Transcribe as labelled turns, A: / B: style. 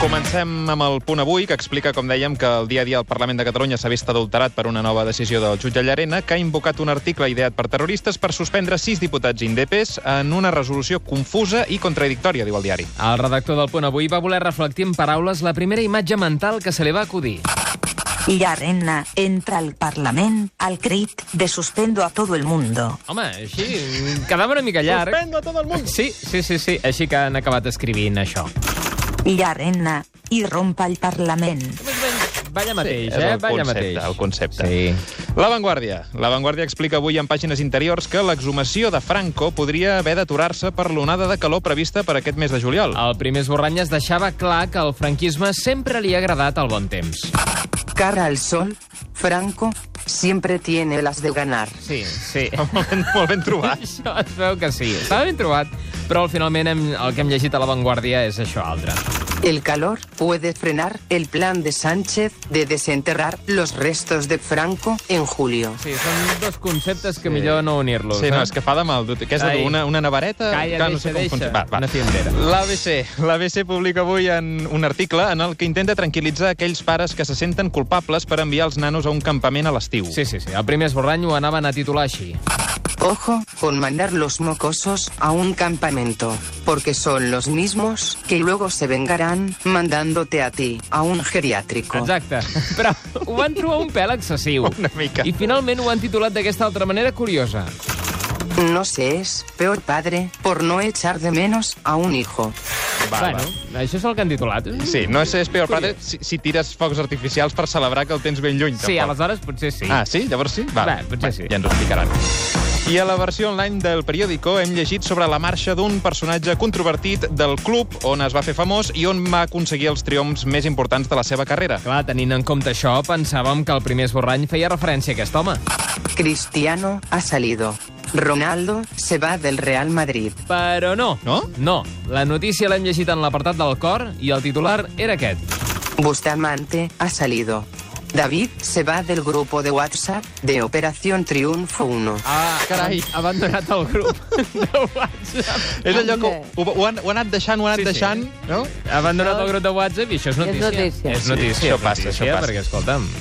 A: Comencem amb el punt avui, que explica, com dèiem, que el dia a dia al Parlament de Catalunya s'ha vist adulterat per una nova decisió del jutge Llarena, que ha invocat un article ideat per terroristes per suspendre sis diputats indepes en una resolució confusa i contradictòria, diu el diari.
B: El redactor del Punt Avui va voler reflectir en paraules la primera imatge mental que se li va acudir.
C: Llarena entra al Parlament al crit de suspendo a todo el mundo.
B: Home, així mm, quedava una mica llarg.
A: Suspendo a todo el mundo.
B: Sí, sí, sí, sí, així que han acabat escrivint això.
C: Llarena irrompa al Parlament.
B: Balla mateix,
A: és
B: eh?
A: el
B: Balla
A: concepte,
B: mateix.
A: el concepte.
B: Sí.
A: La Vanguardia. La Vanguardia explica avui en pàgines interiors que l'exhumació de Franco podria haver d'aturar-se per l'onada de calor prevista per aquest mes de juliol.
B: El primer esborrany es deixava clar que el franquisme sempre li ha agradat el bon temps.
D: Cara al sol, Franco siempre tiene las de ganar.
B: Sí, sí.
A: Molt ben, molt ben trobat.
B: Això es veu que sí. Estava ben trobat, però finalment hem, el que hem llegit a La Vanguardia és això altre.
D: El calor puede frenar el plan de Sánchez de desenterrar los restos de Franco en julio.
B: Sí, són dos conceptes que sí. millor no unir-los.
A: Sí,
B: eh?
A: no, és que fa de mal. Què és de
B: Ai.
A: dur? Una, una nevareta?
B: Calla,
A: Clar, no
B: deixa,
A: sé com
B: deixa.
A: funciona. Va, va.
B: Una fiondera.
A: L'ABC. L'ABC publica avui en un article en el que intenta tranquil·litzar aquells pares que se senten culpables per enviar els nanos a un campament a l'estiu.
B: Sí, sí, sí. El primer esborrany ho anaven a titular així.
D: Ojo con mandar los mocosos a un campamento, porque son los mismos que luego se vengarán mandándote a ti a un geriátrico.
B: Exacte. Però ho van trobar un pèl excessiu.
A: Una mica.
B: I finalment ho han titulat d'aquesta altra manera curiosa.
D: No se es peor padre por no echar de menos a un hijo.
A: Va,
B: bueno, això és el que han titulat.
A: Sí, no és, és peor, però si, si tires focs artificials per celebrar que el tens ben lluny.
B: Sí,
A: tampoc.
B: aleshores potser sí.
A: Ah, sí? Llavors sí? Val.
B: Va, potser sí.
A: Ja ens ho explicaran. I a la versió online del periòdico hem llegit sobre la marxa d'un personatge controvertit del club on es va fer famós i on va aconseguir els triomfs més importants de la seva carrera.
B: Clar, tenint en compte això, pensàvem que el primer esborrany feia referència a aquest home.
D: Cristiano ha salido. Ronaldo se va del Real Madrid.
B: Però no.
A: No?
B: No. La notícia l'hem llegit en l'apartat del cor i el titular era aquest.
D: Bustamante ha salido. David se va del grupo de WhatsApp de Operación Triunfo 1.
B: Ah,
A: Carai.
B: ha abandonat el grup de WhatsApp.
A: És allò que ho, ho, han, ho han anat deixant, ho han anat
B: Sí, sí.
A: deixant, no?
B: Ha abandonat el grup de WhatsApp i això és notícia.
E: notícia.
B: És notícia,
A: Sí, això passa,
B: notícia,
A: això passa.
B: Perquè, escolta'm,